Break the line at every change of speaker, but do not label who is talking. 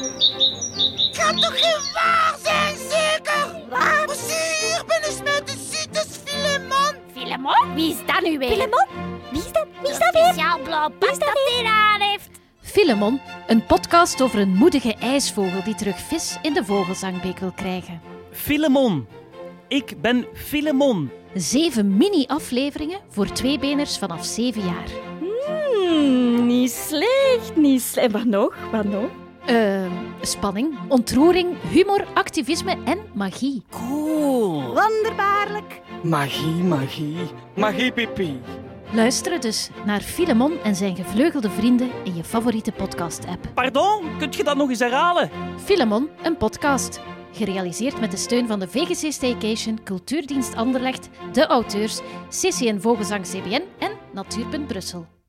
Het gaat toch geen waar zijn, zeker? Waar? We zien hier binnen met de Cites Filemon.
Filemon? Wie is dat nu weer?
Filemon? Wie is dat? Wie is dat weer?
Speciaal blauw pak dat hij aan heeft.
Filemon, een podcast over een moedige ijsvogel die terug vis in de vogelzangbeek wil krijgen.
Filemon. Ik ben Filemon.
Zeven mini-afleveringen voor tweebeners vanaf zeven jaar.
Hmm, niet slecht, niet slecht. Wat nog? Wat nog?
Eh, spanning, ontroering, humor, activisme en magie.
Cool.
Wonderbaarlijk.
Magie, magie. Magie, pipi.
Luister dus naar Filemon en zijn gevleugelde vrienden in je favoriete podcast-app.
Pardon, kunt je dat nog eens herhalen?
Filemon, een podcast. Gerealiseerd met de steun van de VGC Staycation, Cultuurdienst Anderlecht, de auteurs, CCN Vogelzang CBN en Natuurpunt Brussel.